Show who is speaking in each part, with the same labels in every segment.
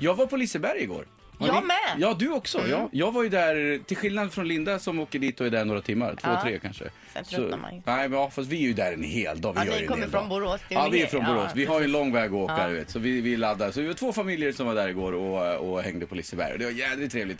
Speaker 1: Jag var på Liseberg igår. Har
Speaker 2: Jag
Speaker 1: ni-
Speaker 2: med. Mm.
Speaker 1: Ja, du också. Ja. Jag var ju där, till skillnad från Linda som åker dit och är där några timmar, två,
Speaker 2: Ja.
Speaker 1: tre kanske.
Speaker 2: Sen tröttnar man ju.
Speaker 1: Nej, men ja, fast vi är ju där en hel dag. Vi
Speaker 2: Ja,
Speaker 1: gör
Speaker 2: ni
Speaker 1: ju en
Speaker 2: kommer
Speaker 1: hel
Speaker 2: från
Speaker 1: dag.
Speaker 2: Borås, det är
Speaker 1: Ja,
Speaker 2: ju
Speaker 1: vi är
Speaker 2: det.
Speaker 1: från
Speaker 2: Ja,
Speaker 1: Borås. vi har ju en lång väg att åka,
Speaker 2: Ja.
Speaker 1: du vet. Så vi, vi laddar. Så vi var två familjer som var där igår och, och hängde på Liseberg. Och Det var jädrigt trevligt.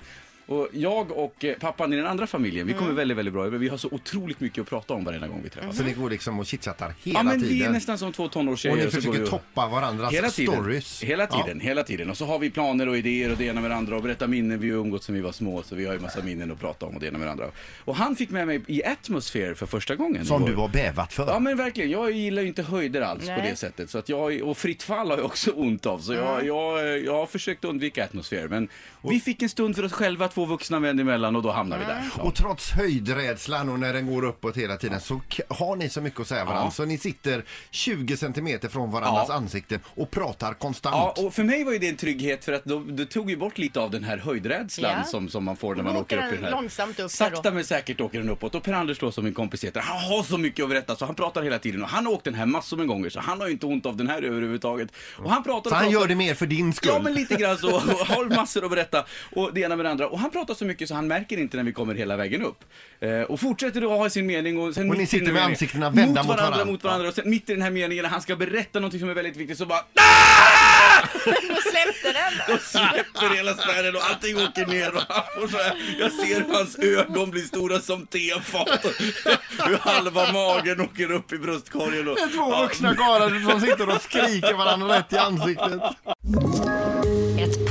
Speaker 1: Och jag och eh, pappan i den andra familjen, vi kommer
Speaker 2: Mm.
Speaker 1: väldigt, väldigt bra över. Vi har så otroligt mycket att prata om varenda gång vi träffas.
Speaker 3: Så ni går liksom och chitchattar hela
Speaker 1: Mm. Ja, men
Speaker 3: tiden.
Speaker 1: vi är nästan som två tonårstjejer.
Speaker 3: Och ni
Speaker 1: så går
Speaker 3: försöker
Speaker 1: vi
Speaker 3: toppa varandras
Speaker 1: Hela tiden,
Speaker 3: Alltså, stories.
Speaker 1: hela
Speaker 3: Ja.
Speaker 1: tiden, hela tiden. Och så har vi planer och idéer och det ena med det andra och berättar minnen vi har umgåtts sen vi var små. Så vi har ju massa minnen att prata om och det ena med det andra. Och han fick med mig i Atmosphere för första gången.
Speaker 3: Som
Speaker 1: igår.
Speaker 3: du har bävat för.
Speaker 1: Ja men verkligen, jag gillar ju inte höjder alls på
Speaker 2: Nej.
Speaker 1: det sättet. Så att jag, och fritt fall har jag också ont av. Så jag, jag, jag har försökt undvika atmosfär. Men vi fick en stund för oss själva, två vuxna män emellan och då hamnade vi där. Ja.
Speaker 3: Och trots höjdrädslan och när den går uppåt hela tiden så k- har ni så mycket att säga varandra
Speaker 1: Ja.
Speaker 3: så ni sitter 20 centimeter från varandras
Speaker 1: Ja.
Speaker 3: ansikten och pratar konstant.
Speaker 1: Ja, och för mig var ju det en trygghet för att då- det tog ju bort lite av den här höjdrädslan
Speaker 2: Ja.
Speaker 1: som, som man får när
Speaker 2: Då
Speaker 1: man
Speaker 2: åker
Speaker 1: åker upp i den
Speaker 2: den
Speaker 1: här.
Speaker 2: långsamt upp där
Speaker 1: Sakta
Speaker 2: då.
Speaker 1: men säkert åker den uppåt och Per-Anders då som min kompis heter, han har så mycket att berätta så han pratar hela tiden och han har åkt den här massor med gånger så han har ju inte ont av den här överhuvudtaget. Och han pratar och
Speaker 3: så han
Speaker 1: pratar.
Speaker 3: gör det mer för din skull.
Speaker 1: Ja, men lite grann så. Och Har massor att berätta. Och det ena med det andra. Och han pratar så mycket så han märker inte när vi kommer hela vägen upp. Eh, och fortsätter då ha sin mening. Och, sen
Speaker 3: Och ni
Speaker 1: mitt i
Speaker 3: sitter
Speaker 1: den
Speaker 3: med
Speaker 1: meningen-
Speaker 3: ansiktena vända mot
Speaker 1: varandra.
Speaker 3: varandra.
Speaker 1: Mot varandra. Och sen mitt i den här meningen när han ska berätta någonting som är väldigt viktigt så bara
Speaker 2: Då släppte den.
Speaker 1: och släpper hela spärren och allting åker ner och han får så här, jag ser hur hans ögon blir stora som tefat och hur halva magen åker upp i bröstkorgen och
Speaker 3: Det är två
Speaker 1: Ja,
Speaker 3: vuxna karlar som sitter och skriker varandra rätt i ansiktet.
Speaker 4: Ett